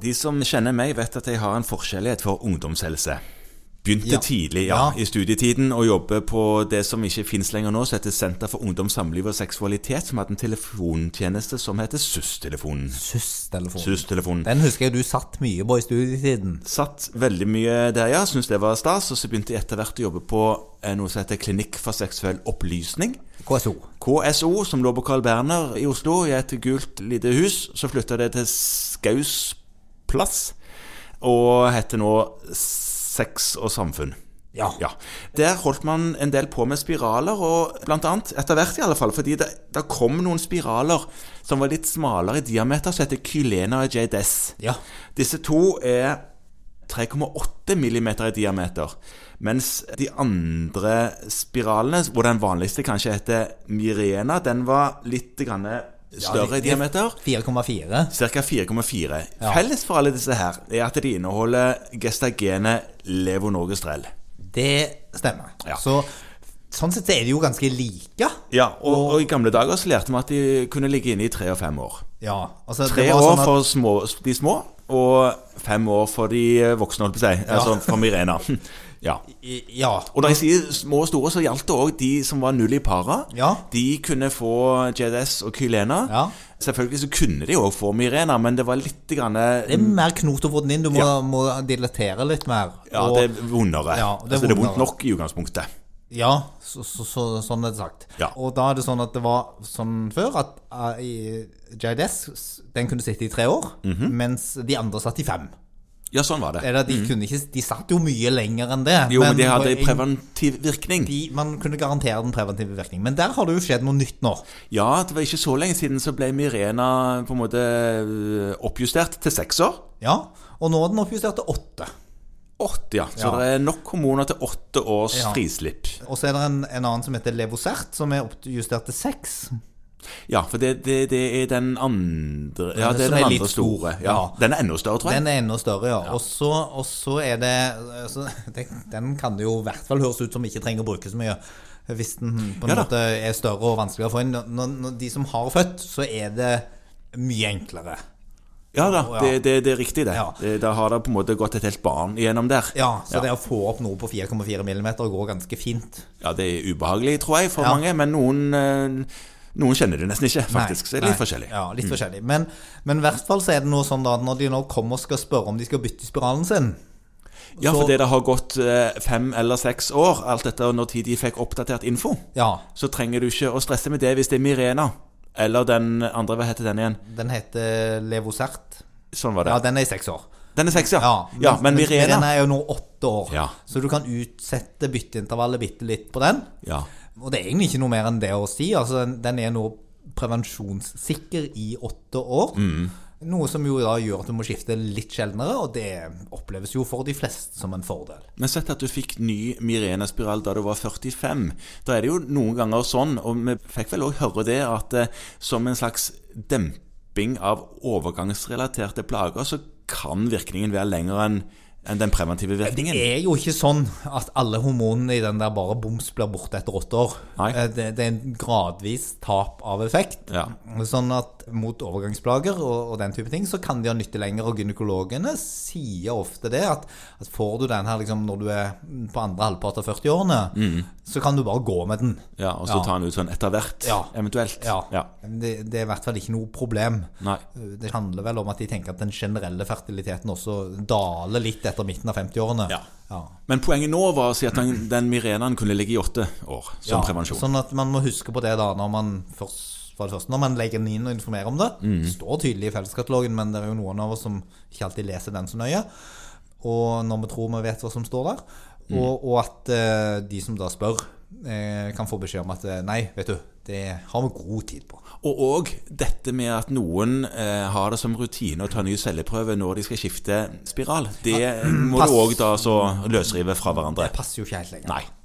De som kjenner meg, vet at jeg har en forskjellighet for ungdomshelse. Begynte Ja. tidlig ja, Ja. i studietiden å jobbe på det som ikke fins lenger nå, som heter Senter for ungdom, samliv og seksualitet, som hadde en telefontjeneste som heter SUS-telefonen. SUS-telefonen. SUS-telefonen. Den husker jeg du satt mye på i studietiden. Satt veldig mye der, ja. Syntes det var stas. Og så begynte jeg etter hvert å jobbe på eh, noe som heter Klinikk for seksuell opplysning. KSO. KSO, som lå på Carl Berner i Oslo, i et gult lite hus. Så flytta det til Skaus plass, og heter nå Sex og samfunn. Ja. Ja. Der holdt man en del på med spiraler, og blant annet, etter hvert i alle fall, fordi det, det kom noen spiraler som var litt smalere i diameter, som heter Kylena og JDS. Ja. Disse to er 3,8 millimeter i diameter, mens de andre spiralene, hvor den vanligste kanskje heter Mirena, den var litt grann større i diameter. 4,4. Ca. 4,4. Ja. Felles for alle disse her er at de inneholder gestagenet levonorgestrell. Det stemmer. Ja. Så sånn sett så er de jo ganske like. Ja, og, og i gamle dager så lærte vi at de kunne ligge inne i tre og fem år. Ja. Altså, Tre det var år sånn at, for små, de små, og fem år for de voksne, holdt på å si. Altså for Mirena. Ja. i- Ja. Og når jeg sier små og store, så gjaldt det òg de som var null i para. Ja. De kunne få JDS og Kylena. Ja. Selvfølgelig så kunne de òg få Mirena, men det var litt grann Det er mer knot å få den inn. Du Mm. må, Ja. må dilettere litt mer. Ja, og, det er vondere. Ja, det altså, det er er vondere. vondt nok i utgangspunktet. ja så, så, så, sånn er det sagt. Ja. Og da er det sånn at det var sånn før at uh, i JDS den kunne sitte i tre år, Mhm. mens de andre satt i fem. Ja, sånn var det. Eller de, kunne ikke, de satt jo mye lenger enn det. Jo, men de hadde poeng- preventiv virkning. de, man kunne garantere den preventive virkningen. Men der har det jo skjedd noe nytt nå. Ja, det var ikke så lenge siden så ble Mirena på en måte øh, oppjustert til seks år. Ja, og nå er den oppjustert til åtte. Åtte, ja. Så Ja. det er nok hormoner til åtte års Ja. frislipp. Og så er det en, en annen som heter Levosert, som er oppjustert til seks. Ja, for det, det, det er den andre Ja, Den det er som den er litt andre store. stor, Ja. ja. Den er enda større, tror jeg. Den er enda større, ja. Og så- Og så er det så, den, den kan det jo i hvert fall høres ut som ikke trenger å bruke så mye. Hvis den på en Ja da. måte er større og vanskeligere å få inn. Når, når de som har født, så er det mye enklere. Ja da, Ja. det, det, det er riktig, det. Ja. det. Da har det på en måte gått et helt barn igjennom der. Ja, Så det å få opp noe på 4,4 millimeter går ganske fint. Ja, det er ubehagelig, tror jeg, for Ja. mange, men noen, eh, noen kjenner det nesten ikke, faktisk. Nei, så det er litt nei. forskjellig. Mm. Ja, litt forskjellig. Men, men i hvert fall så er det nå sånn da at når de nå kommer og skal spørre om de skal bytte spiralen sin Ja, så- fordi det har gått eh, fem eller seks år, alt etter når tid de fikk oppdatert info, Ja, så trenger du ikke å stresse med det hvis det er Mirena. Eller den andre, hva heter den igjen? den heter Levosert. Sånn var det. Ja, den er i seks år. Den er seks, ja. Ja, Ja, men Mirena er jo nå åtte år, Ja. så du kan utsette bytteintervallet bitte litt på den. Ja. Og det er egentlig ikke noe mer enn det å si. Altså, den, den er nå prevensjonssikker i åtte år. Mm. Noe som jo da gjør at du må skifte litt sjeldnere, og det oppleves jo for de fleste som en fordel. Men sett at du fikk ny Mirena-spiral da du var 45. Da er det jo noen ganger sånn, og vi fikk vel òg høre det, at eh, som en slags demping av overgangsrelaterte plager, så kan virkningen være lenger enn enn den preventive virkningen. Det er jo ikke sånn at alle hormonene i den der bare boms blir borte etter åtte år. Nei. Eh, Det, det er en gradvis tap av effekt. Ja. Sånn at mot overgangsplager og, og den type ting, så kan de ha nytte lenger. Og gynekologene sier ofte det, at, at får du den her liksom når du er på andre halvpart av 40-årene, så kan du bare gå med den. Mm. Ja, Og så Ja. ta den ut sånn etter hvert, Ja. eventuelt. Ja. Det, det er i hvert fall ikke noe problem. Nei. Det handler vel om at de tenker at den generelle fertiliteten også daler litt etter midten av 50-årene. Ja. ja. Men poenget nå var å si at den, den Mirenaen kunne ligge i åtte år som Ja, prevensjon. Sånn at man må huske på det da når man først, for det første, når man legger den inn og informerer om det. Mm. Det står tydelig i felleskatalogen, men det er jo noen av oss som ikke alltid leser den så nøye. Og når vi tror vi vet hva som står der. Mm. Og, og at eh, de som da spør, eh, kan få beskjed om at eh, nei, vet du, det har vi god tid på. Og òg dette med at noen eh, har det som rutine å ta ny celleprøve når de skal skifte spiral. Det må pass. du òg da så løsrive fra hverandre. Det passer jo ikke helt lenger. Nei.